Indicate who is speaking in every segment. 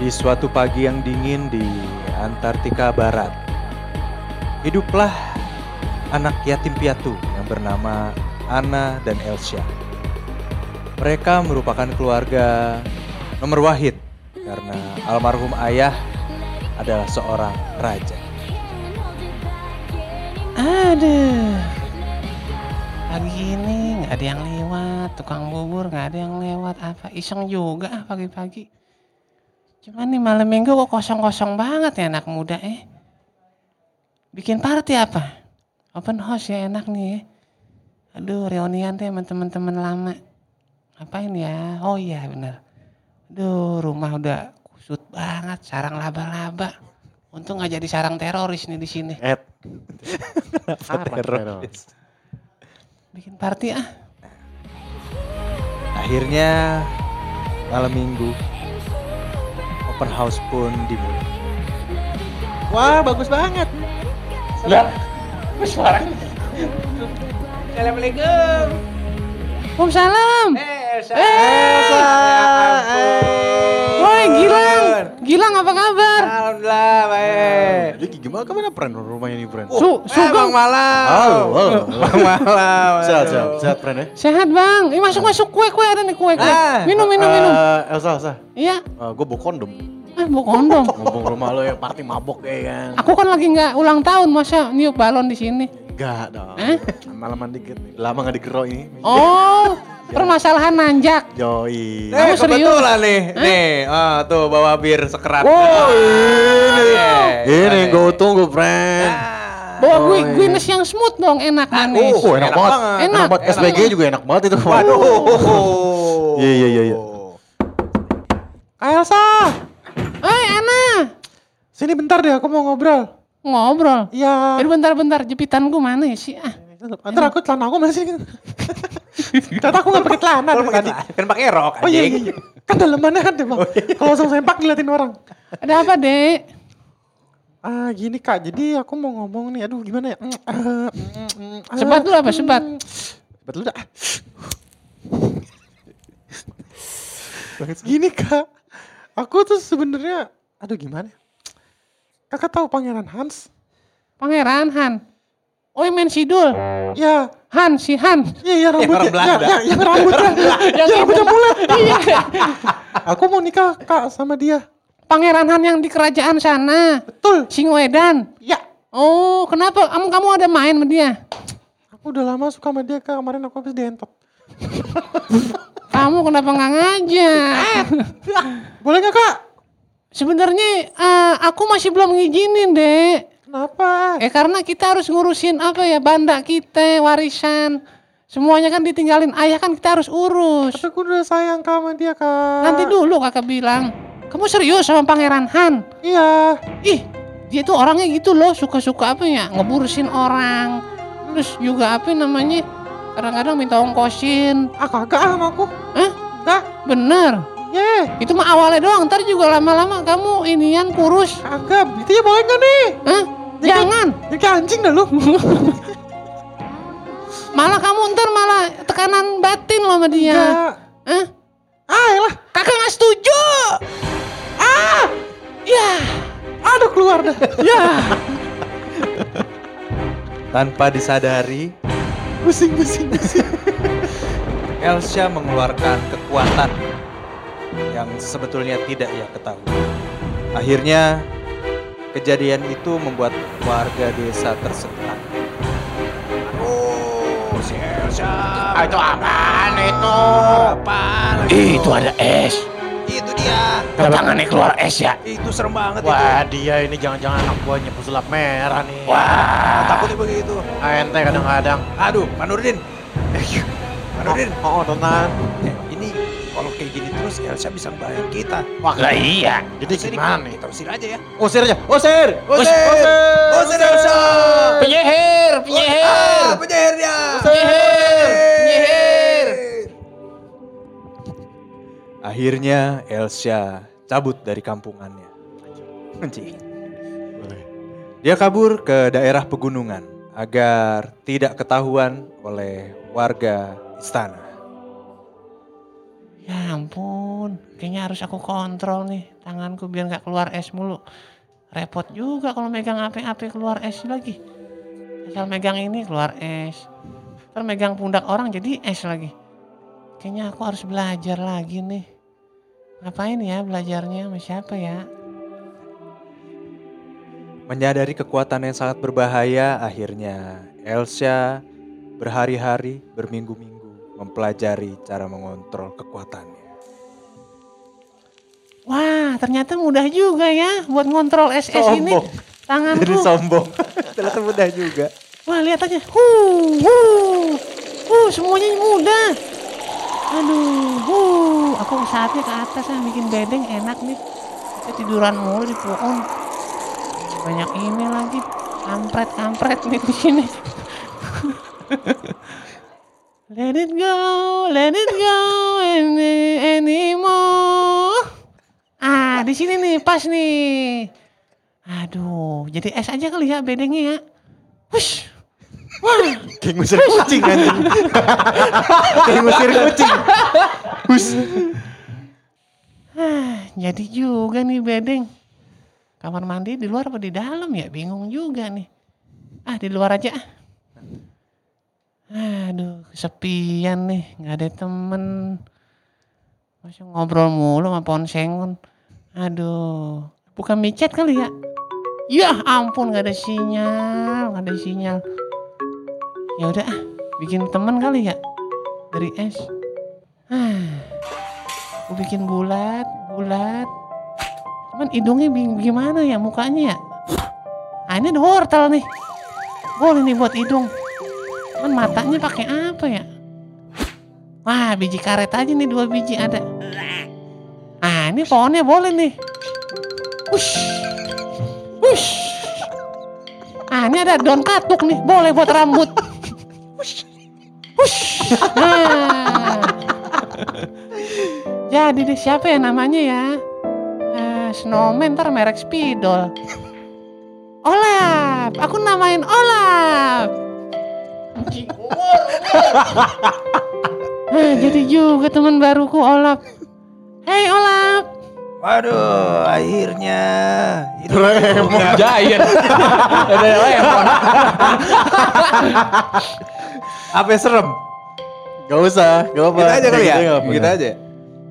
Speaker 1: Di suatu pagi yang dingin di Antartika Barat, hiduplah anak yatim piatu yang bernama Ana dan Elsia. Mereka merupakan keluarga nomor wahid karena almarhum ayah adalah seorang raja.
Speaker 2: Aduh. Pagi ini nggak ada yang lewat, tukang bubur nggak ada yang lewat apa, iseng juga ah pagi-pagi. Cuman nih malam minggu kok kosong-kosong banget ya anak muda eh. Bikin party apa? Open house ya enak nih ya. Aduh reunian deh sama teman-teman lama. Ngapain ya? Oh iya bener. Aduh rumah udah kusut banget, sarang laba-laba. Untung nggak jadi sarang teroris nih di sini.
Speaker 3: Ed.
Speaker 1: Apa teroris?
Speaker 2: Bikin party ah.
Speaker 1: Akhirnya malam minggu open house pun dimulai.
Speaker 3: Wah, bagus banget.
Speaker 2: Lah, suaranya. Assalamualaikum. Waalaikumsalam.
Speaker 3: Eh, Elsa.
Speaker 2: Elsa,
Speaker 1: eh,
Speaker 2: Woi, Gilang. Gilang apa kabar?
Speaker 3: Alhamdulillah, baik.
Speaker 4: Jadi gimana kemana Pren rumahnya ini Pren?
Speaker 3: Eh,
Speaker 2: Su, Sugeng.
Speaker 3: malam. Bang malam.
Speaker 4: Sehat, sehat, sehat Pren ya.
Speaker 2: Sehat, Bang. Eh, masuk-masuk kue-kue ada nih kue-kue.
Speaker 3: Ah. Eh.
Speaker 2: Minum, minum,
Speaker 4: Eh,
Speaker 2: minum.
Speaker 4: Elsa, Elsa.
Speaker 2: Iya.
Speaker 4: gue bawa kondom.
Speaker 2: Ah, mau kondom.
Speaker 4: Ngomong rumah lo yang party mabok ya kan.
Speaker 2: Aku kan lagi nggak ulang tahun, masa niup balon di sini.
Speaker 4: Enggak dong.
Speaker 2: Hah?
Speaker 4: Malaman dikit. Lama gak digerok ini.
Speaker 2: Oh, permasalahan nanjak.
Speaker 4: Joy.
Speaker 3: Eh,
Speaker 2: Kamu serius? Oh,
Speaker 3: kebetulan nih. Nih, ah, tuh bawa bir sekerat.
Speaker 4: Wow, ini.
Speaker 3: Ah,
Speaker 4: Ini
Speaker 3: iya.
Speaker 4: gue tunggu Pren.
Speaker 2: Bawa gue
Speaker 3: Oh,
Speaker 2: Guinness yang smooth dong, enak
Speaker 3: Ah,
Speaker 2: manis.
Speaker 4: Oh, enak,
Speaker 3: enak
Speaker 4: banget.
Speaker 3: banget.
Speaker 4: Enak,
Speaker 2: Enak,
Speaker 4: banget.
Speaker 2: enak.
Speaker 4: SBG juga enak banget itu.
Speaker 3: Waduh.
Speaker 4: Iya, iya, iya, iya.
Speaker 3: Elsa,
Speaker 2: Eh, enak.
Speaker 3: sini bentar deh aku mau ngobrol.
Speaker 2: Ngobrol.
Speaker 3: Iya.
Speaker 2: Aduh bentar-bentar, jepitan gue mana ya sih? Ah,
Speaker 3: Ntar aku celana aku masih. Ternyata aku gak pakai celana dari tadi.
Speaker 5: Kan pakai rok
Speaker 3: Oh iya, iya,
Speaker 5: anjing.
Speaker 3: iya. Kan dalemannya kan deh bang.
Speaker 2: Oh iya.
Speaker 3: Kalau langsung sempak diliatin orang.
Speaker 2: ada apa dek?
Speaker 3: Ah gini kak, jadi aku mau ngomong nih. Aduh gimana ya. Mm, ah, mm, mm, ah.
Speaker 2: Sebat dulu apa, sebat?
Speaker 3: Sebat dulu dah. Gini kak, aku tuh sebenarnya, aduh gimana ya. Kakak tahu Pangeran Hans?
Speaker 2: Pangeran Han. Oh, yang main Sidul.
Speaker 3: Ya,
Speaker 2: Han, si Han.
Speaker 3: iya ya rambutnya.
Speaker 5: orang Belanda.
Speaker 3: Ya, ya, yang rambutnya. yang rambutnya bulat.
Speaker 2: Iya.
Speaker 3: Aku mau nikah kak sama dia.
Speaker 2: Pangeran Han yang di kerajaan sana.
Speaker 3: Betul.
Speaker 2: Singwedan.
Speaker 3: Ya,
Speaker 2: Oh, kenapa? Kamu kamu ada main sama dia?
Speaker 3: aku udah lama suka sama dia kak. Kemarin aku habis dihentot.
Speaker 2: Kamu kenapa nggak ngajak?
Speaker 3: Boleh nggak kak?
Speaker 2: Sebenarnya eh, aku masih belum ngizinin, Dek.
Speaker 3: Kenapa?
Speaker 2: Eh karena kita harus ngurusin apa ya banda kita, warisan. Semuanya kan ditinggalin ayah kan kita harus urus.
Speaker 3: Tapi aku udah sayang kak sama dia kak.
Speaker 2: Nanti dulu kakak bilang, kamu serius sama Pangeran Han?
Speaker 3: Iya.
Speaker 2: Ih, dia tuh orangnya gitu loh, suka-suka apa ya, ngeburusin orang. Terus juga apa namanya, kadang-kadang minta ongkosin.
Speaker 3: Ah kagak ah sama aku.
Speaker 2: Hah?
Speaker 3: Kak.
Speaker 2: Bener,
Speaker 3: Ye.
Speaker 2: itu mah awalnya doang, ntar juga lama-lama kamu inian kurus.
Speaker 3: Kagak. Itu ya boleh nggak nih?
Speaker 2: Hah? Jangan,
Speaker 3: Jadi kayak anjing dah lu.
Speaker 2: malah kamu ntar malah tekanan batin loh sama dia.
Speaker 3: Enggak.
Speaker 2: Hah?
Speaker 3: Ah elah.
Speaker 2: Kakak nggak setuju.
Speaker 3: Ah.
Speaker 2: Ya,
Speaker 3: Aduh keluar dah. Iya.
Speaker 2: ya.
Speaker 1: Tanpa disadari,
Speaker 3: Pusing pusing pusing.
Speaker 1: Elsa mengeluarkan kekuatan yang sebetulnya tidak ia ketahui. Akhirnya, kejadian itu membuat warga desa tersentak.
Speaker 4: Ah, itu apaan itu?
Speaker 2: Ih, itu ada es.
Speaker 5: Itu dia.
Speaker 2: Tangannya keluar es ya.
Speaker 5: Itu serem banget itu.
Speaker 4: Wah dia ini jangan-jangan anak buahnya pesulap merah nih. Wah.
Speaker 5: Takutnya begitu.
Speaker 4: ANT kadang-kadang.
Speaker 5: Aduh, Pak Nurdin.
Speaker 2: Eh, iya.
Speaker 5: Pak Nurdin,
Speaker 4: Oh, tonton.
Speaker 5: eh, ini kalau kayak gini terus Elsa bisa ngebayang kita.
Speaker 4: Wah, lah iya. Jadi
Speaker 5: Jadi
Speaker 4: gimana nih?
Speaker 5: Kita usir aja ya.
Speaker 4: Usir aja, usir!
Speaker 5: Usir! Usir Elsa!
Speaker 2: Penyihir, penyihir.
Speaker 5: Ah, penyihir dia.
Speaker 2: Penyihir, penyihir.
Speaker 1: Akhirnya, Elsa cabut dari kampungannya. Anjing. Dia kabur ke daerah pegunungan agar tidak ketahuan oleh warga istana.
Speaker 2: Ya ampun, kayaknya harus aku kontrol nih tanganku biar nggak keluar es mulu. Repot juga kalau megang HP-HP keluar es lagi. Asal megang ini keluar es. Ntar megang pundak orang jadi es lagi. Kayaknya aku harus belajar lagi nih. Ngapain ya belajarnya sama siapa ya?
Speaker 6: Menyadari kekuatan yang sangat berbahaya, akhirnya Elsa berhari-hari, berminggu-minggu mempelajari cara mengontrol kekuatannya.
Speaker 2: Wah, ternyata mudah juga ya buat ngontrol es es ini.
Speaker 6: Sombong. Jadi
Speaker 2: Tanganku.
Speaker 6: sombong, ternyata mudah juga.
Speaker 2: Wah, lihat aja. Huh, huh. Huh, semuanya mudah. Aduh, huh. Aku saatnya ke atas ah bikin bedeng enak nih. Saya tiduran mulu di pohon. Banyak ini lagi. Kampret-kampret nih di sini. let it go, let it go any, anymore. Ah, di sini nih, pas nih. Aduh, jadi es aja kali ya bedengnya ya. Wush. Wah,
Speaker 6: Kayak ngusir kucing anjing. Kayak ngusir kucing. Hus.
Speaker 2: Ah, jadi juga nih bedeng. Kamar mandi di luar apa di dalam ya? Bingung juga nih. Ah, di luar aja. ah. Aduh, kesepian nih. Nggak ada temen. Masih ngobrol mulu sama ponsengon. Aduh, bukan micet kali ya? Yah ampun, nggak ada sinyal. Nggak ada sinyal. Ya udah, ah, bikin temen kali ya? Dari es. Ah. Aku bikin bulat, bulat. Cuman hidungnya bing- gimana ya mukanya ya? Ah ini ada wortel nih. Boleh nih buat hidung. Cuman matanya pakai apa ya? Wah biji karet aja nih dua biji ada. Ah ini pohonnya boleh nih. Wush. Wush. Ah ini ada daun katuk nih. Boleh buat rambut. Wush. Wush. Ah. Jadi deh siapa ya namanya ya? Eh, snowman ntar merek spidol. Olap, aku namain Olap. Hah, Eh, jadi juga teman baruku Olap. Hei Olap,
Speaker 1: Waduh, akhirnya. Itu
Speaker 7: Giant. Ada lemon.
Speaker 6: Apa yang serem?
Speaker 8: Gak usah, gak apa-apa.
Speaker 1: Kita aja kali ya?
Speaker 8: Kita,
Speaker 6: Kita
Speaker 8: aja.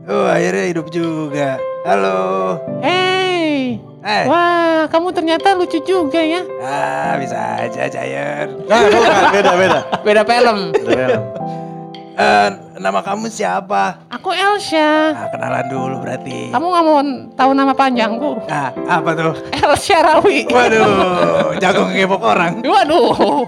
Speaker 1: Oh, akhirnya hidup juga. Halo.
Speaker 2: hey.
Speaker 1: Eh,
Speaker 2: Wah, kamu ternyata lucu juga ya.
Speaker 1: ah, bisa aja, Giant.
Speaker 8: Nah, bukan, beda, beda.
Speaker 7: Beda film.
Speaker 1: Eh, nama kamu siapa?
Speaker 2: Aku Elsa.
Speaker 1: Nah, kenalan dulu berarti.
Speaker 2: Kamu nggak mau tahu nama panjangku?
Speaker 1: Nah, apa tuh?
Speaker 2: Elsa Rawi.
Speaker 1: Waduh, jago ngepok orang.
Speaker 2: Waduh.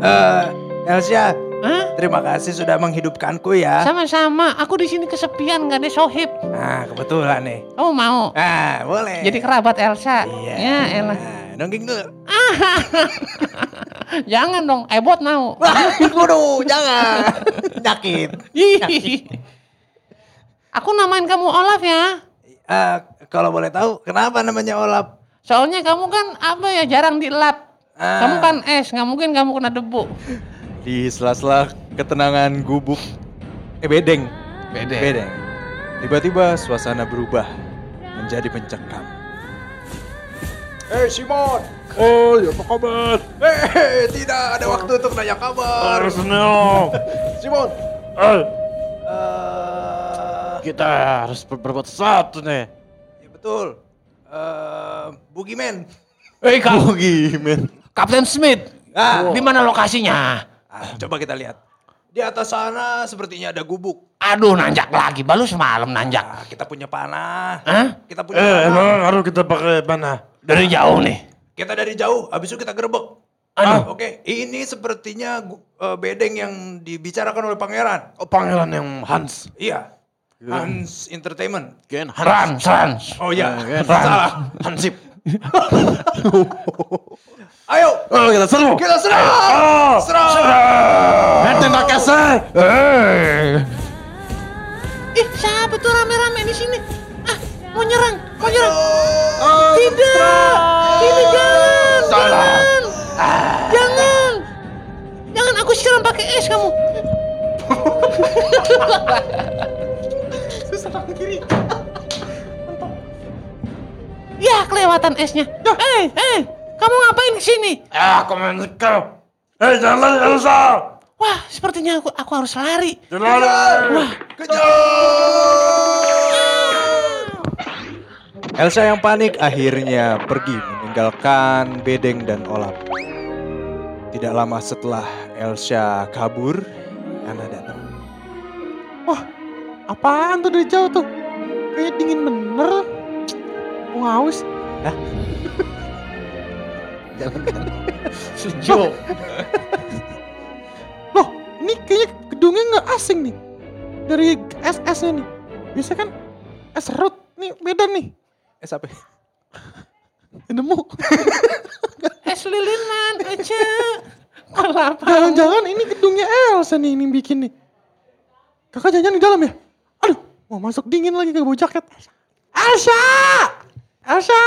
Speaker 1: Eh, Elsia,
Speaker 2: Hah?
Speaker 1: terima kasih sudah menghidupkanku ya.
Speaker 2: Sama-sama, aku di sini kesepian nggak ada sohib.
Speaker 1: Nah, kebetulan nih.
Speaker 2: Kamu mau?
Speaker 7: Eh.
Speaker 1: Ah, boleh.
Speaker 2: Jadi kerabat Elsa.
Speaker 1: Iya.
Speaker 2: Ya, elah.
Speaker 1: Nah, Nongging dulu.
Speaker 2: Jangan dong, ebot mau.
Speaker 1: Waduh, jangan. Nyakit.
Speaker 7: Nah.
Speaker 2: Ih. aku namain kamu Olaf ya.
Speaker 1: Eh, kalau boleh tahu, kenapa namanya Olap?
Speaker 2: Soalnya kamu kan apa ya jarang dilap.
Speaker 1: Ah.
Speaker 2: Kamu kan es, nggak mungkin kamu kena debu.
Speaker 6: Di sela-sela ketenangan gubuk eh bedeng,
Speaker 7: Beda.
Speaker 6: bedeng. Tiba-tiba suasana berubah menjadi mencekam.
Speaker 1: Eh, Simon.
Speaker 8: Oh, ya apa kabar?
Speaker 1: Eh, tidak ada waktu untuk nanya kabar.
Speaker 4: Arsenal.
Speaker 1: Simon.
Speaker 4: Eh,
Speaker 1: Eh,
Speaker 4: kita harus ber- berbuat satu nih.
Speaker 1: ya betul. Eh, Bugiman.
Speaker 7: Hei,
Speaker 4: Oh,
Speaker 7: Kap-
Speaker 6: Gimana?
Speaker 7: Kapten Smith.
Speaker 1: Ah,
Speaker 7: Di mana lokasinya?
Speaker 1: ah, coba kita lihat. Di atas sana sepertinya ada gubuk.
Speaker 7: Aduh, nanjak lagi. Baru semalam nanjak.
Speaker 1: Ah, kita punya panah.
Speaker 7: Hah?
Speaker 1: Kita punya
Speaker 4: Eh,
Speaker 1: panah.
Speaker 4: emang harus kita pakai panah?
Speaker 7: Dari jauh nih.
Speaker 1: Kita dari jauh, habis itu kita gerebek. Ah,
Speaker 7: Aduh.
Speaker 1: Oke, ini sepertinya gu- eh, bedeng yang dibicarakan oleh pangeran.
Speaker 4: Oh, pangeran yang Hans.
Speaker 1: Iya. Hans Entertainment.
Speaker 4: Gen
Speaker 7: Ran, ran.
Speaker 1: Oh
Speaker 7: Ah,
Speaker 1: iya,
Speaker 7: kan.
Speaker 4: Eh,
Speaker 1: salah.
Speaker 4: Hansip.
Speaker 1: Ayo,
Speaker 4: Oh, kita Oh, seru.
Speaker 1: kita serang! serang!
Speaker 4: Meten Makassar. Eh.
Speaker 2: Ih, siapa tuh rame-rame di sini? Ah, mau nyerang, mau nyerang.
Speaker 1: Oh,
Speaker 2: Tidak, tidak jangan, jangan, jangan, jangan aku siram pakai es kamu. Ya, kelewatan esnya. Eh, eh, kamu ngapain ke sini?
Speaker 4: Ya,
Speaker 9: Ah, aku menekal. Eh, jangan Elsa.
Speaker 2: Wah, sepertinya aku aku harus lari.
Speaker 9: Jangan.
Speaker 2: Wah,
Speaker 1: Elsa yang panik akhirnya pergi meninggalkan bedeng dan olap. Tidak lama setelah Elsa kabur, Ana datang.
Speaker 3: Apaan tuh dari jauh tuh? Kayaknya dingin bener. tuh. Mau haus.
Speaker 4: Sejuk.
Speaker 3: Loh, ini kayaknya gedungnya nggak asing nih. Dari SS-nya nih. Biasa kan es serut. Nih beda nih.
Speaker 1: Eh, siapa?
Speaker 3: Nemu.
Speaker 2: es lilinan aja. Kelapa.
Speaker 3: Jangan-jangan ini gedungnya Elsa nih ini bikin nih. Kakak jangan di dalam ya? Aduh, mau masuk dingin lagi ke bawa jaket. Elsa! Elsa!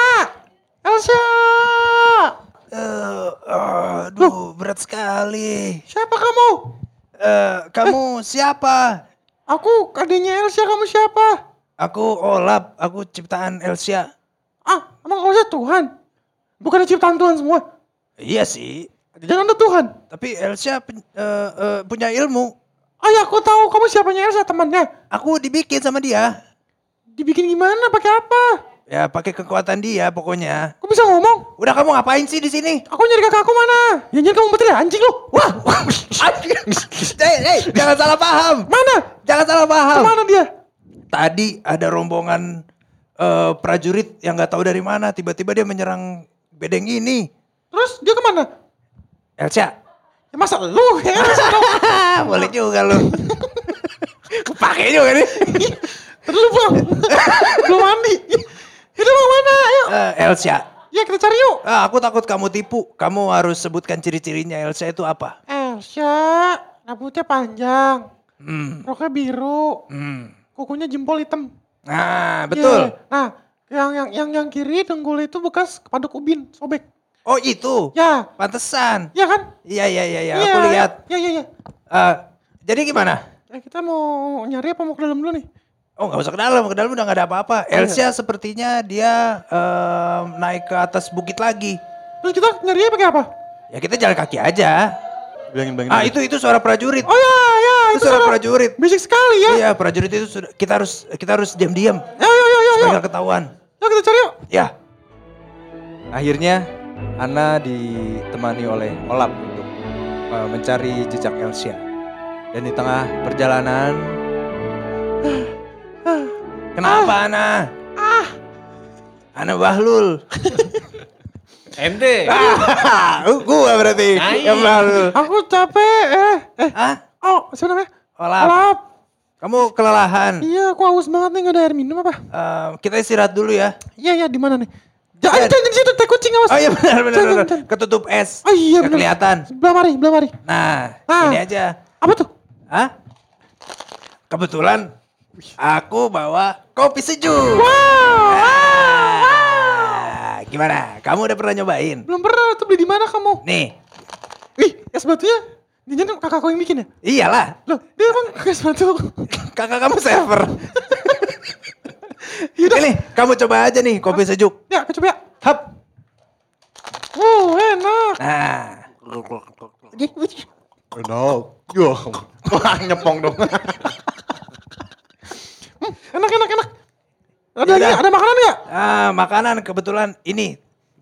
Speaker 3: Elsa!
Speaker 5: Eh, aduh, berat sekali.
Speaker 3: Siapa kamu?
Speaker 5: Eh, kamu siapa?
Speaker 3: Aku adiknya Elsa, kamu siapa?
Speaker 5: Aku Olap, aku ciptaan Elsia.
Speaker 3: Ah, emang Elsa Tuhan? Bukan ciptaan Tuhan semua.
Speaker 5: Iya sih,
Speaker 3: Jangan ada Tuhan.
Speaker 5: tapi Elsia pen- eh, eh, punya ilmu.
Speaker 3: Oh ya, aku tahu kamu siapanya Elsa temannya.
Speaker 5: Aku dibikin sama dia.
Speaker 3: Dibikin gimana? Pakai apa?
Speaker 5: Ya pakai kekuatan dia pokoknya.
Speaker 3: Kok bisa ngomong?
Speaker 5: Udah kamu ngapain sih di sini?
Speaker 3: Aku nyari kakakku mana? Ya jangan kamu betul ya, anjing lu. Wah,
Speaker 5: Hei, hei, jangan salah paham.
Speaker 3: mana?
Speaker 5: Jangan salah paham.
Speaker 3: Kemana dia?
Speaker 5: Tadi ada rombongan eh, prajurit yang nggak tahu dari mana tiba-tiba dia menyerang bedeng ini.
Speaker 3: Terus dia kemana?
Speaker 5: Elsa,
Speaker 3: Ya masa lu ya Elsa dong.
Speaker 5: ah, boleh juga lu. Kepake juga nih.
Speaker 3: Terus lu bang, belum mandi. Itu mau mana? Ayo,
Speaker 5: Eh, Elsa,
Speaker 3: ya kita cari yuk.
Speaker 5: ah, aku takut kamu tipu. Kamu harus sebutkan ciri-cirinya Elsa itu apa.
Speaker 3: Elsa, rambutnya panjang,
Speaker 5: Hmm.
Speaker 3: roknya biru,
Speaker 5: hmm.
Speaker 3: kukunya jempol hitam.
Speaker 5: Nah,
Speaker 1: Ya.
Speaker 5: betul.
Speaker 3: Iya. Nah, yang yang yang yang kiri dengkul itu bekas kepaduk ubin sobek.
Speaker 5: Oh, itu.
Speaker 3: Ya,
Speaker 5: Pantesan.
Speaker 3: ya kan?
Speaker 5: Iya, iya, iya, iya. Aku lihat.
Speaker 3: Ya, ya, ya.
Speaker 5: Eh, jadi gimana?
Speaker 3: Eh, kita mau nyari apa mau ke dalam dulu nih?
Speaker 5: Oh nggak usah ke dalam, ke dalam udah nggak ada apa-apa. Elsa sepertinya dia em, naik ke atas bukit lagi.
Speaker 3: Terus kita nyari pakai apa?
Speaker 5: Ya kita jalan kaki aja.
Speaker 1: Bilangin bang.
Speaker 5: Ah itu itu suara prajurit.
Speaker 3: Oh ya, ya,
Speaker 5: itu,
Speaker 3: itu
Speaker 5: suara
Speaker 3: suara
Speaker 5: prajurit.
Speaker 3: bisik sekali ya.
Speaker 5: Iya prajurit itu sudah. Kita harus kita harus diam-diam.
Speaker 3: Ayo, ayo, ayo, ayo,
Speaker 5: Supaya
Speaker 3: ayo.
Speaker 5: nggak ketahuan.
Speaker 3: Yuk kita cari yuk.
Speaker 5: Ya.
Speaker 1: Akhirnya Ana ditemani oleh Olap untuk eh, mencari jejak Elsia. Dan di tengah perjalanan,
Speaker 5: Kenapa Ana? Ah. Ana Bahlul.
Speaker 4: Ente.
Speaker 5: Ah, gua berarti.
Speaker 4: Hai.
Speaker 5: Yang Bahlul.
Speaker 3: Aku capek. Eh, eh.
Speaker 5: Ah,
Speaker 3: Oh, siapa namanya?
Speaker 5: Olap.
Speaker 3: Alap.
Speaker 5: Kamu kelelahan.
Speaker 3: Iya, aku haus banget nih gak ada air minum apa?
Speaker 5: Eh, kita istirahat dulu ya.
Speaker 3: Iya, iya, di mana nih? Ya, ayo, jangan di situ, teh kucing awas.
Speaker 5: Iya. Oh iya benar benar.
Speaker 3: Jangan,
Speaker 5: benar.
Speaker 3: jangan.
Speaker 5: Ketutup es.
Speaker 3: Oh iya,
Speaker 5: Nggak
Speaker 3: benar.
Speaker 5: kelihatan.
Speaker 3: Sebelah mari, sebelah mari.
Speaker 5: Nah,
Speaker 3: Ah.
Speaker 5: ini aja.
Speaker 3: Apa tuh?
Speaker 5: Hah? Kebetulan aku bawa kopi sejuk. Ah, Gimana? Kamu udah pernah nyobain?
Speaker 3: Belum pernah, tuh beli di mana kamu?
Speaker 5: Nih,
Speaker 3: Ih, es batunya. Ini kan kakakku yang bikin ya?
Speaker 5: iyalah.
Speaker 3: Loh, dia emang es batu.
Speaker 5: Kakak kamu server.
Speaker 3: Yaudah.
Speaker 5: Ini, kamu coba aja nih kopi sejuk.
Speaker 3: Ya, aku coba ya.
Speaker 5: Hap.
Speaker 3: Wow, enak.
Speaker 5: Nah,
Speaker 4: Kenal. Yo. Wah nyepong dong.
Speaker 3: Hmm, Enak, enak, enak. Ada
Speaker 5: Yaudah.
Speaker 3: lagi, nggak? ada makanan nggak?
Speaker 5: ah, makanan kebetulan ini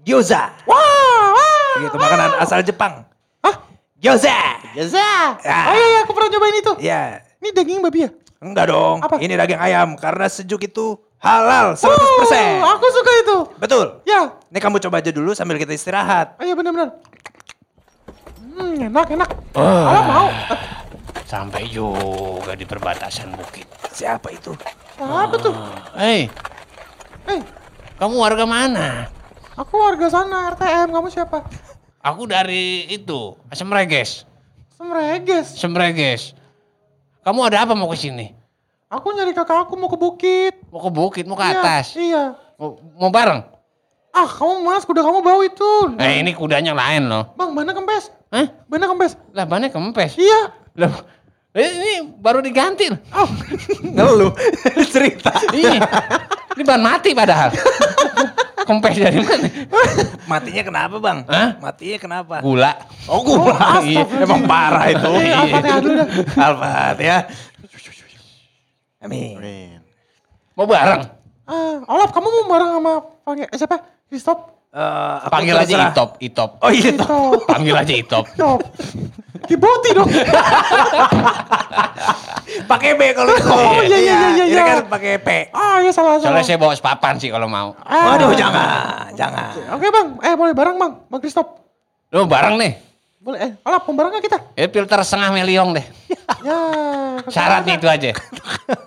Speaker 5: gyoza.
Speaker 3: Wah, wah.
Speaker 5: Iya, Itu makanan asal Jepang.
Speaker 3: Hah?
Speaker 5: Gyoza.
Speaker 4: Jasa.
Speaker 5: Ah,
Speaker 3: Oh iya, iya, aku pernah nyobain itu.
Speaker 5: Ya,
Speaker 3: Ini daging babi ya?
Speaker 5: enggak dong.
Speaker 3: Apa?
Speaker 5: Ini daging ayam karena sejuk itu halal 100%.
Speaker 3: Wow, Oh, aku suka itu.
Speaker 5: Betul.
Speaker 3: Ya,
Speaker 5: Ini kamu coba aja dulu sambil kita istirahat.
Speaker 3: Oh iya benar-benar. Hmm, enak enak. Alam mau.
Speaker 9: Sampai juga di perbatasan bukit.
Speaker 5: Siapa itu?
Speaker 3: Apa tuh?
Speaker 9: Hei,
Speaker 3: Eh,
Speaker 9: kamu warga mana?
Speaker 3: aku warga sana RTM. Kamu siapa?
Speaker 9: Aku dari itu, Semreges.
Speaker 3: Semreges.
Speaker 9: Semreges. Kamu ada apa mau ke sini?
Speaker 3: Aku nyari kakak aku mau ke bukit.
Speaker 9: Mau ke bukit, mau ke
Speaker 3: Iya,
Speaker 9: atas.
Speaker 3: Iya.
Speaker 9: Mau, mau bareng?
Speaker 3: Ah, kamu mas, kuda kamu bau itu.
Speaker 9: Eh, ini kudanya lain loh.
Speaker 3: Bang, mana kempes?
Speaker 9: Hah?
Speaker 3: Mana kempes?
Speaker 9: Labannya kempes.
Speaker 3: Iya.
Speaker 9: Lah, eh, ini baru diganti. loh.
Speaker 3: Oh,
Speaker 5: Ngeluh. Cerita.
Speaker 9: Iya. Ini bahan mati padahal. Kempes dari mana?
Speaker 5: Matinya kenapa bang?
Speaker 9: Hah?
Speaker 5: Matinya kenapa?
Speaker 9: Gula.
Speaker 5: Oh gula, Iya, emang parah itu.
Speaker 9: Iya,
Speaker 3: Al-Fatihah dulu dah.
Speaker 5: Alfat ya. Amin.
Speaker 4: Amin.
Speaker 9: Mau bareng.
Speaker 3: Ah, Olaf, kamu mau bareng sama panggil eh, siapa? Kristop?
Speaker 5: Eh, aku
Speaker 9: Panggil aja
Speaker 5: terserah.
Speaker 9: Itop, Itop.
Speaker 5: Oh iya toh.
Speaker 3: Kristop.
Speaker 9: Panggil aja Itop.
Speaker 3: Kristop. Diboti dong.
Speaker 5: Pakai B kalau itu.
Speaker 3: Oh, iya, iya, iya,
Speaker 5: Ini
Speaker 3: iya.
Speaker 5: kan pakai P.
Speaker 3: Ah, iya salah salah.
Speaker 9: Soalnya saya bawa sepapan sih kalau mau.
Speaker 3: Ah.
Speaker 5: Waduh jangan, jangan.
Speaker 3: Oke bang, eh boleh bareng bang, bang Kristop.
Speaker 9: Lu bareng nih.
Speaker 3: Boleh, eh Olaf mau bareng nggak kita?
Speaker 9: Ya filter setengah meliong deh.
Speaker 3: Ya.
Speaker 9: Syaratnya itu aja.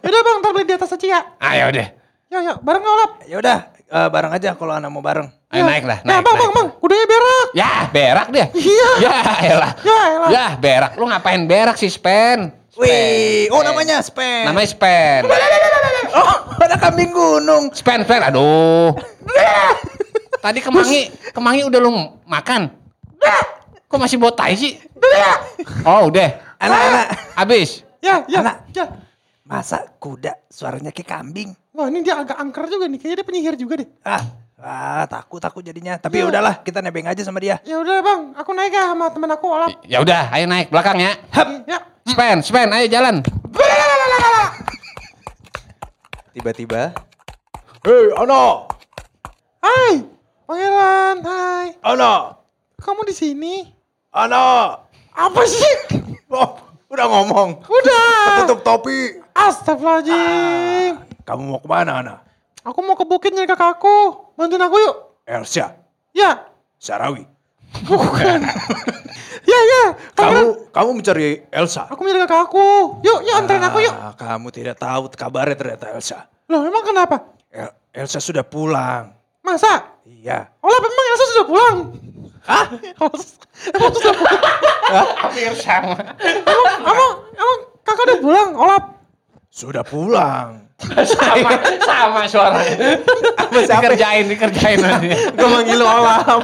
Speaker 3: Yaudah bang, ntar beli di atas aja ya.
Speaker 9: Ayo deh.
Speaker 3: Ya, ya, bareng nggak Olaf?
Speaker 5: Ya udah, eh, bareng aja kalau anak mau bareng.
Speaker 9: Ayo
Speaker 3: Ya.
Speaker 9: naik lah.
Speaker 3: Ya
Speaker 9: Naik,
Speaker 3: bang,
Speaker 9: naik.
Speaker 3: bang, bang, kudanya berak.
Speaker 9: Ya berak dia.
Speaker 3: Iya.
Speaker 9: Ya elah.
Speaker 3: Ya, elah.
Speaker 9: Ya berak. Lu ngapain berak sih Spen?
Speaker 5: Wih, oh
Speaker 9: Spen.
Speaker 5: namanya Spen.
Speaker 9: Namanya Spen.
Speaker 5: Oh, ada kambing gunung.
Speaker 9: Spen, Spen. Aduh. Tadi kemangi, kemangi udah lu makan. Kok masih botai sih? Oh udah.
Speaker 3: Ah.
Speaker 5: Anak-anak,
Speaker 9: Habis.
Speaker 3: Ya, ya,
Speaker 5: Anak.
Speaker 3: ya.
Speaker 5: masa kuda suaranya kayak kambing?
Speaker 3: Wah ini dia agak angker juga nih, kayaknya dia penyihir juga deh.
Speaker 5: Ah, ah takut takut jadinya. Tapi ya udahlah, kita nebeng aja sama dia.
Speaker 3: Ya udah bang, aku naik ya sama temen aku Olaf.
Speaker 9: Ya udah, ayo naik belakang ya.
Speaker 3: Ya,
Speaker 9: Spen, Spen, ayo jalan.
Speaker 1: Tiba-tiba
Speaker 4: Hei, Ono.
Speaker 3: hai, pangeran, hai.
Speaker 4: Ono.
Speaker 3: Kamu di sini?
Speaker 4: Ono.
Speaker 3: Apa sih?
Speaker 4: Oh, udah ngomong.
Speaker 3: Udah.
Speaker 4: Tutup topi.
Speaker 3: Astagfirullahaladzim.
Speaker 9: Ah.
Speaker 5: Kamu mau kemana, Ana?
Speaker 3: Aku mau ke bukit nyari kakakku. Bantuin aku yuk.
Speaker 5: Elsa,
Speaker 3: Ya.
Speaker 5: Sarawi.
Speaker 3: Bukan. ya, ya. Pangeran,
Speaker 5: Kamu kamu mencari Elsa.
Speaker 3: aku nyari kakakku. Yuk, yuk anterin aku yuk.
Speaker 5: Ah, kamu tidak tahu kabarnya ternyata Elsa.
Speaker 3: Loh, emang kenapa?
Speaker 5: El- Elsa sudah pulang.
Speaker 3: Masa?
Speaker 5: Iya.
Speaker 3: Olah, emang Elsa sudah pulang?
Speaker 5: Hah?
Speaker 3: emang sudah pulang?
Speaker 9: Hampir sama.
Speaker 3: Emang, emang, emang kakak udah pulang, Olap?
Speaker 5: Sudah pulang.
Speaker 9: sama, sama suaranya. Dikerjain, dikerjain nanti.
Speaker 4: Gue manggil lu Olam.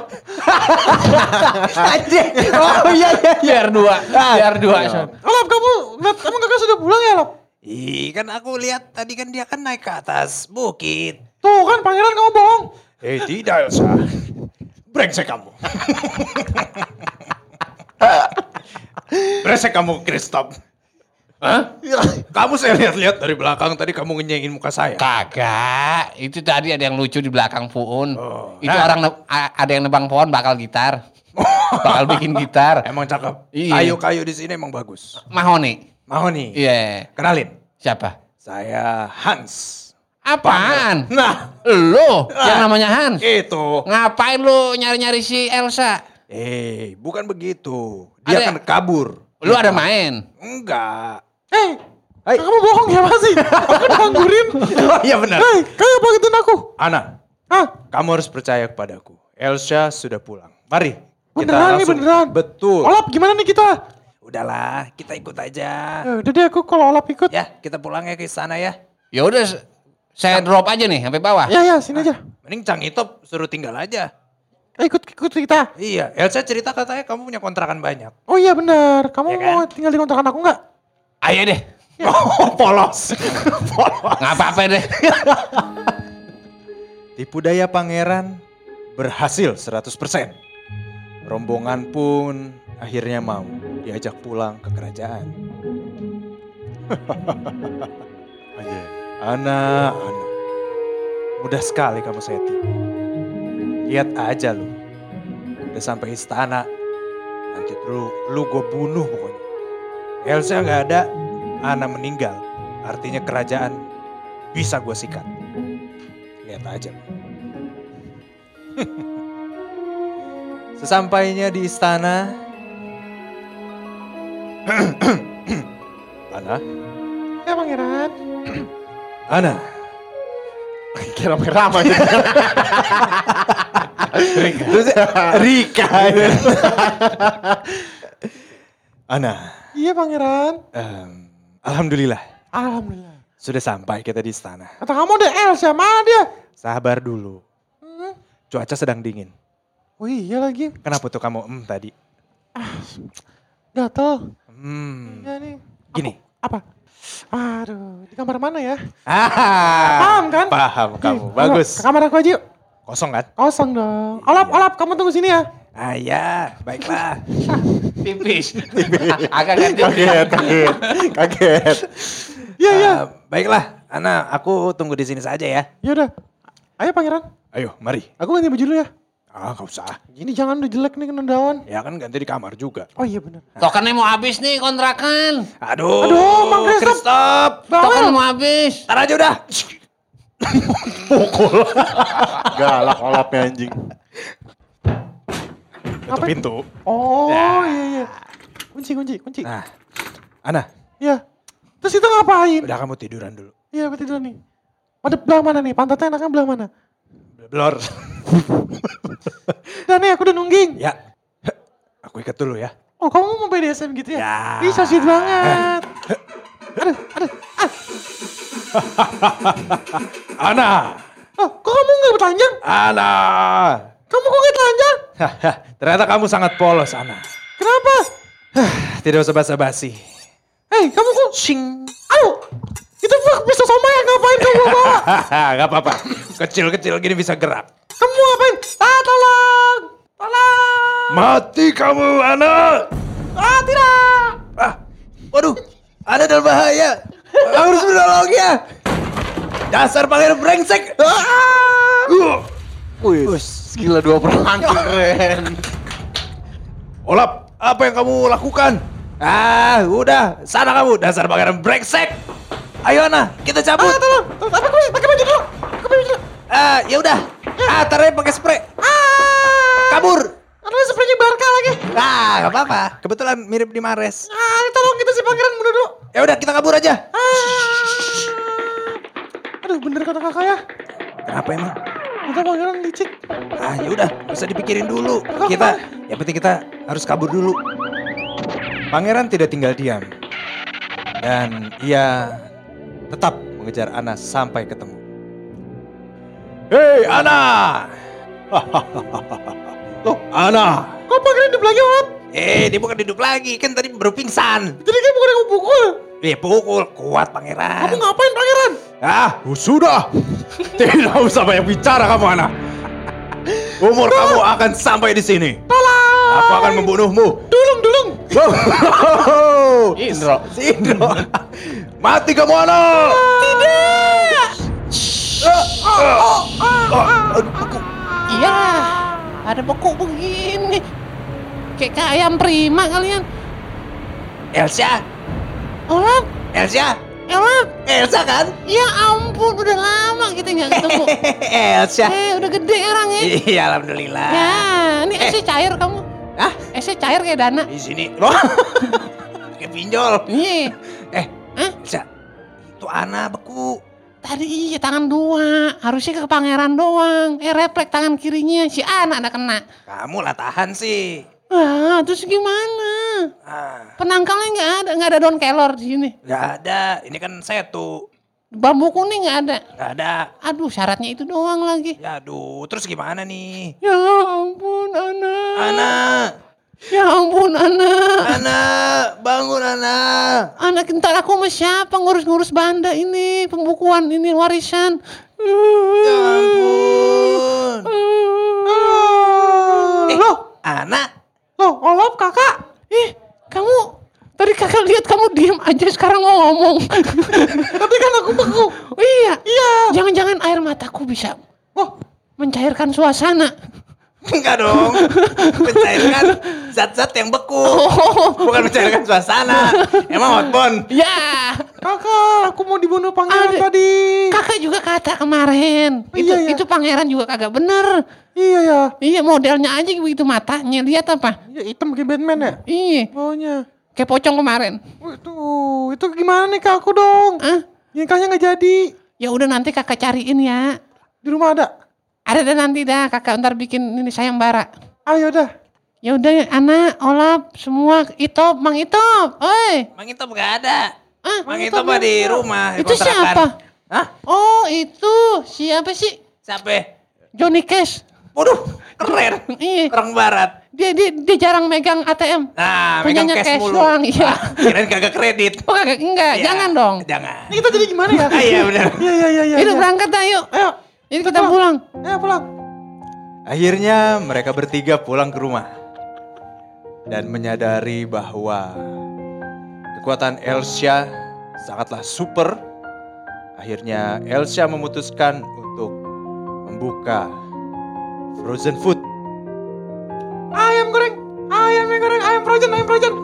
Speaker 9: Oh iya iya. Biar dua, biar dua.
Speaker 3: Olap, kamu, lihat, emang kakak sudah pulang ya, Olap?
Speaker 5: Ih, kan aku lihat tadi kan dia kan naik ke atas bukit.
Speaker 3: Tuh kan, pangeran kamu bohong.
Speaker 5: Eh, tidak Elsa.
Speaker 4: Brengsek kamu.
Speaker 5: Brengsek kamu, Kristop.
Speaker 9: Hah? Iya.
Speaker 5: Kamu saya lihat-lihat dari belakang tadi kamu ngenyengin muka saya.
Speaker 9: Kan. Kagak. Itu tadi ada yang lucu di belakang Puun.
Speaker 5: Oh,
Speaker 9: Itu orang ne- a- ada yang nebang pohon bakal gitar. bakal bikin gitar.
Speaker 5: Emang cakep.
Speaker 9: Iya.
Speaker 5: Kayu-kayu di sini emang bagus.
Speaker 9: Mahoni.
Speaker 5: Mahoni.
Speaker 9: Iya.
Speaker 5: Kenalin,
Speaker 9: Siapa?
Speaker 5: saya Hans.
Speaker 9: Apaan?
Speaker 5: Nah,
Speaker 9: Lo Hmm. yang namanya Hans.
Speaker 5: itu.
Speaker 9: Ngapain lu nyari-nyari si Elsa?
Speaker 5: Eh, bukan begitu. Dia
Speaker 9: Ada-
Speaker 5: kan kabur.
Speaker 9: Lu ada main?
Speaker 5: Enggak.
Speaker 3: Eh,
Speaker 5: Hai.
Speaker 3: kamu bohong ya masih? Aku dianggurin.
Speaker 5: Oh, iya benar.
Speaker 3: Hei, kamu paketin aku.
Speaker 5: Ana,
Speaker 3: Ah,
Speaker 5: kamu harus percaya kepadaku. Elsa sudah pulang. Mari. kita
Speaker 3: beneran nih
Speaker 5: langsung-
Speaker 3: beneran.
Speaker 5: Betul.
Speaker 3: Olap gimana nih kita?
Speaker 5: Udahlah, kita ikut aja.
Speaker 3: Eh, udah deh aku kalau Olap ikut.
Speaker 5: Ya, kita pulang ya ke sana ya.
Speaker 9: Ya udah s- saya drop aja nih sampai bawah.
Speaker 3: Ya ya sini aja.
Speaker 5: Mending Cang Itop suruh tinggal aja.
Speaker 3: Eh, ikut ikut kita.
Speaker 5: Iya, Elsa cerita katanya kamu punya kontrakan banyak.
Speaker 3: Oh iya benar. Kamu
Speaker 5: Ya kan?
Speaker 3: mau tinggal di kontrakan aku nggak?
Speaker 9: Ayo deh.
Speaker 5: Oh, polos. polos.
Speaker 9: Nggak apa-apa deh.
Speaker 1: tipu daya pangeran
Speaker 5: Berhasil 100%.
Speaker 1: Rombongan pun akhirnya mau diajak pulang ke kerajaan. Anak-anak, mudah sekali kamu seti. Lihat aja lu, udah sampai istana. Nanti lu, lu gue bunuh pokoknya. Elsa nggak ada, Ana meninggal. Artinya kerajaan bisa gue sikat. Lihat aja lu. Sesampainya di istana, Ana,
Speaker 3: Ya pangeran.
Speaker 1: Ana,
Speaker 4: Kira-kira apa aja.
Speaker 1: Terus- Rika, Ana,
Speaker 3: Iya pangeran.
Speaker 1: em, alhamdulillah
Speaker 3: Alhamdulillah.
Speaker 1: sudah sampai kita di istana.
Speaker 3: Kata kamu ada Elsa mana dia?
Speaker 1: Sabar dulu,
Speaker 3: Hmm.
Speaker 1: cuaca sedang dingin.
Speaker 3: Oh iya lagi.
Speaker 1: Kenapa tuh kamu em tadi?
Speaker 3: Gatel.
Speaker 1: Hmm,
Speaker 3: Ya nih.
Speaker 1: gini.
Speaker 3: Apa? Aduh, di kamar mana ya?
Speaker 1: Ah,
Speaker 3: Paham kan?
Speaker 1: paham kamu,
Speaker 3: Ih,
Speaker 1: bagus. Iya.
Speaker 3: Ke kamar aku aja yuk.
Speaker 1: Kosong kan?
Speaker 3: Kosong dong. Olap, olap, kamu tunggu sini ya.
Speaker 5: Ah ya, baiklah.
Speaker 2: Tipis. Agak agak tipis.
Speaker 1: Kaget, kaget, kaget.
Speaker 3: Iya, iya.
Speaker 5: Ah, baiklah, Ana, aku tunggu di sini saja ya.
Speaker 3: Ya udah. Ayo pangeran,
Speaker 5: Ayo, mari.
Speaker 3: aku ganti baju dulu ya.
Speaker 5: Ah, nggak usah.
Speaker 3: Ini jangan udah jelek nih kena daun.
Speaker 5: Ya kan ganti di kamar juga.
Speaker 3: Oh iya bener.
Speaker 1: Ah.
Speaker 2: Tokennya mau habis nih kontrakan.
Speaker 5: Aduh,
Speaker 3: Aduh, Mang Christoph.
Speaker 5: Christoph.
Speaker 2: Token
Speaker 1: kan?
Speaker 3: Bawel.
Speaker 2: mau habis.
Speaker 5: Ntar aja udah.
Speaker 1: Galak olapnya anjing.
Speaker 3: Apa?
Speaker 1: Tutup pintu.
Speaker 3: Oh
Speaker 1: Ya.
Speaker 3: iya iya. Kunci, kunci, kunci.
Speaker 5: Nah, Ana,
Speaker 3: Iya. Terus itu ngapain?
Speaker 5: udah kamu tiduran dulu.
Speaker 3: Iya berarti dulu nih. Madep belah mana nih? Pantatnya enaknya belah mana?
Speaker 5: Blor.
Speaker 3: Udah nih aku udah nungging.
Speaker 5: ya. Aku ikat dulu ya.
Speaker 3: Oh kamu mau BDSM gitu ya?
Speaker 5: Ya.
Speaker 3: Ih sosial banget.
Speaker 5: Ana,
Speaker 3: Oh kok kamu gak telanjang?
Speaker 5: Ana.
Speaker 3: Kamu kok gak telanjang?
Speaker 5: Haha, Ternyata kamu sangat polos, Ana.
Speaker 3: Kenapa?
Speaker 5: Tidak usah basa-basi.
Speaker 3: Hei kamu kok... Sing. Aduh. Itu fuck bisa sama ya ngapain kamu bawa?
Speaker 5: Hahaha, Gak apa-apa. Kecil-kecil gini bisa gerak.
Speaker 3: kamu ngapain? Ah tolong. Tolong.
Speaker 5: Mati kamu, Ana.
Speaker 3: Ah tidak.
Speaker 5: Ah, waduh, Ana dalam bahaya. Aku harus menolongnya. Dasar pangeran brengsek. Ah. Uh.
Speaker 10: Wih, gila dua perang keren.
Speaker 5: Olap, apa yang kamu lakukan? Ah, udah, sana kamu, dasar pangeran brengsek. Ayo Ana, kita cabut.
Speaker 3: Ah tolong. Tapi aku pakai baju dulu. Pakai baju dulu.
Speaker 5: Ah, ya udah. Ah, taruhnya pakai spray.
Speaker 3: Ah.
Speaker 5: Kabur.
Speaker 3: Aduh sepertinya barca lagi.
Speaker 5: Ah, gak apa-apa. Kebetulan mirip di Mares.
Speaker 3: Ah tolong kita si pangeran mundur dulu.
Speaker 5: Ya udah, kita kabur aja.
Speaker 3: Ah. Aduh bener kata kakak ya.
Speaker 5: Kenapa emang?
Speaker 3: Kita pangeran licik.
Speaker 5: Ah, ya udah, nggak usah dipikirin dulu. Kita, yang penting kita harus kabur dulu.
Speaker 1: Pangeran tidak tinggal diam. Dan ia tetap mengejar Ana sampai ketemu.
Speaker 5: Hei, Ana. Loh, Ana.
Speaker 3: Kok pangeran dibelakang orang?
Speaker 5: Eh, dia bukan duduk lagi, kan tadi baru pingsan.
Speaker 3: Jadi kayak bukan aku pukul.
Speaker 5: Dia pukul, kuat
Speaker 3: Kamu
Speaker 5: pangeran.
Speaker 3: ngapain pangeran?
Speaker 5: Ah, sudah. Tidak usah banyak bicara kamu, Ana. Umur kamu akan sampai di sini.
Speaker 3: Tolong.
Speaker 5: Aku akan membunuhmu.
Speaker 3: Dulung, dulung.
Speaker 5: Indro. Indro. Mati kamu, Ana.
Speaker 3: Tidak.
Speaker 2: Iya. Ada pokok begini. Kayak kayak ayam prima kalian.
Speaker 5: Elsa,
Speaker 2: Orang,
Speaker 5: Elsa,
Speaker 2: orang.
Speaker 5: Elsa kan?
Speaker 2: Ya ampun, udah lama kita nggak ketemu.
Speaker 3: Ya.
Speaker 5: Elsa.
Speaker 2: Eh, udah gede orang ya.
Speaker 5: Iya, alhamdulillah.
Speaker 2: Ya, ini
Speaker 3: Eh.
Speaker 2: esnya cair kamu.
Speaker 5: Hah?
Speaker 2: Esnya cair kayak dana.
Speaker 5: Di sini. Loh. Pakai pinjol.
Speaker 2: Iya,
Speaker 5: Eh,
Speaker 2: Hah?
Speaker 5: Elsa. Itu Ana beku.
Speaker 2: tadi iya tangan dua. Harusnya ke pangeran doang. Eh, refleks tangan kirinya. Si anak ada kena.
Speaker 5: Kamu lah tahan sih.
Speaker 2: Ah, terus gimana?
Speaker 5: Ah,
Speaker 2: Penangkalnya nggak ada, nggak ada daun kelor di sini.
Speaker 5: nggak ada. Ini kan setu.
Speaker 2: Bambu kuning nggak ada.
Speaker 5: Nggak ada.
Speaker 2: Aduh, syaratnya itu doang lagi.
Speaker 5: Ya aduh, terus gimana nih?
Speaker 2: Ya ampun, Ana.
Speaker 5: Ana,
Speaker 2: Ya ampun, Ana.
Speaker 5: Ana, bangun Ana.
Speaker 2: Anak ntar aku sama siapa ngurus-ngurus banda ini, pembukuan ini, warisan.
Speaker 5: Ya ampun. Eh,
Speaker 3: Loh,
Speaker 5: Ana,
Speaker 2: Oh,
Speaker 3: loh, olop kakak.
Speaker 2: Ih, Eh, kamu tadi kakak lihat kamu diem aja sekarang ngomong.
Speaker 3: Tapi kan aku beku.
Speaker 2: Oh, iya.
Speaker 3: Iya.
Speaker 2: Jangan-jangan air mataku bisa
Speaker 3: Oh,
Speaker 2: mencairkan suasana.
Speaker 5: enggak dong. Mencairkan zat-zat yang beku.
Speaker 2: Oh,
Speaker 5: Bukan mencairkan suasana. Emang hotbon.
Speaker 3: Iya.
Speaker 2: ya.
Speaker 3: kakak, aku mau dibunuh pangeran
Speaker 2: Ada-
Speaker 3: tadi.
Speaker 2: Kakak juga kata kemarin.
Speaker 3: Oh,
Speaker 2: Itu,
Speaker 3: iya, iya.
Speaker 2: itu pangeran juga kagak bener.
Speaker 3: Iya ya.
Speaker 2: Iya modelnya aja begitu matanya. Lihat apa?
Speaker 3: Ya hitam kayak Batman ya.
Speaker 2: Iya.
Speaker 3: Baunya.
Speaker 2: Kayak pocong kemarin.
Speaker 3: Wih, Itu, itu gimana nih kak aku dong?
Speaker 2: Ah,
Speaker 3: Nikahnya nggak jadi.
Speaker 2: ya udah nanti kakak cariin ya.
Speaker 3: Di rumah ada.
Speaker 2: Ada deh nanti dah kakak ntar bikin ini sayembara.
Speaker 3: Ayo dah.
Speaker 2: Ya udah anak, olap, semua, itop, mang itop, oi.
Speaker 5: Mang Itop enggak ada.
Speaker 2: Ah,
Speaker 5: Mang Itop mah di rumah, di
Speaker 2: Itu
Speaker 5: kontrakan.
Speaker 2: siapa?
Speaker 5: Hah?
Speaker 2: Oh itu siapa sih?
Speaker 5: Siapa?
Speaker 2: Johnny Cash.
Speaker 5: Waduh, keren.
Speaker 2: Iya.
Speaker 5: Orang barat.
Speaker 2: Dia, dia, dia jarang megang ATM.
Speaker 5: Nah, megang
Speaker 2: Punyanya
Speaker 5: cash
Speaker 2: cash
Speaker 5: mulu.
Speaker 2: doang, iya.
Speaker 5: Ah, Kirain kagak kredit.
Speaker 2: Oh kagak, enggak,
Speaker 5: Iya,
Speaker 2: jangan dong.
Speaker 5: Jangan.
Speaker 3: Ini kita jadi gimana ya?
Speaker 5: Ah, iya Eh, benar.
Speaker 3: Iya, iya, iya, iya.
Speaker 2: Ini
Speaker 3: iya.
Speaker 2: berangkat dah yuk.
Speaker 3: Ayo,
Speaker 2: Ini kita
Speaker 3: Betul.
Speaker 2: pulang.
Speaker 3: ayo pulang.
Speaker 1: Akhirnya mereka bertiga pulang ke rumah dan menyadari bahwa kekuatan Elsa sangatlah super. Akhirnya Elsa memutuskan untuk membuka frozen food.
Speaker 3: Ayam goreng, ayam goreng, ayam frozen, ayam frozen.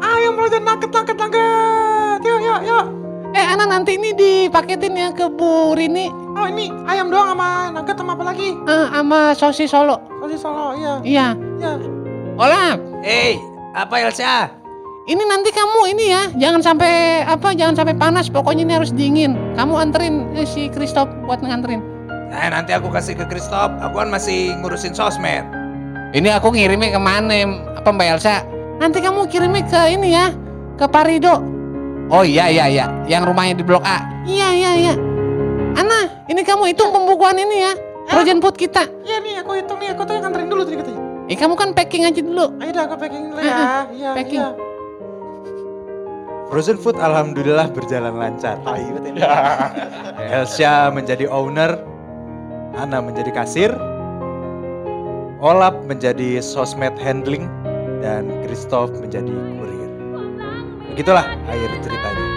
Speaker 3: Ayam frozen, nugget, nugget, nugget. Yuk, yuk, yuk.
Speaker 2: Eh anak nanti ini dipaketin ya ke Bu Rini
Speaker 3: Oh ini ayam doang sama nugget sama apa lagi?
Speaker 2: eh, sama sosis Solo.
Speaker 3: Sosis solo, iya.
Speaker 2: Iya.
Speaker 3: Iya.
Speaker 2: Olah,
Speaker 5: Hei, apa Elsa?
Speaker 2: ini nanti kamu ini ya, jangan sampai apa, jangan sampai panas, pokoknya ini harus dingin. Kamu anterin eh, si Christoph buat nganterin.
Speaker 5: Nah, nanti aku kasih ke Christoph. Aku kan masih ngurusin sosmed.
Speaker 2: Ini aku ngirimnya kemana, apa Mbak Elsa? Nanti kamu kirimnya ke ini ya, ke Parido. Oh iya iya iya, yang rumahnya di Blok A. Iya iya iya. Ana, ini kamu hitung pembukuan ini ya, Frozen Food kita.
Speaker 3: Iya nih aku hitung nih, aku tuh yang nganterin dulu tadi katanya.
Speaker 2: Eh kamu kan packing aja dulu.
Speaker 3: Ayo dah aku packing dulu ya. Iya,
Speaker 2: packing.
Speaker 3: iya.
Speaker 1: Frozen Food alhamdulillah berjalan lancar. Elsa menjadi owner, Ana menjadi kasir, Olap menjadi sosmed handling, dan Christoph menjadi kurir. Begitulah akhir ceritanya.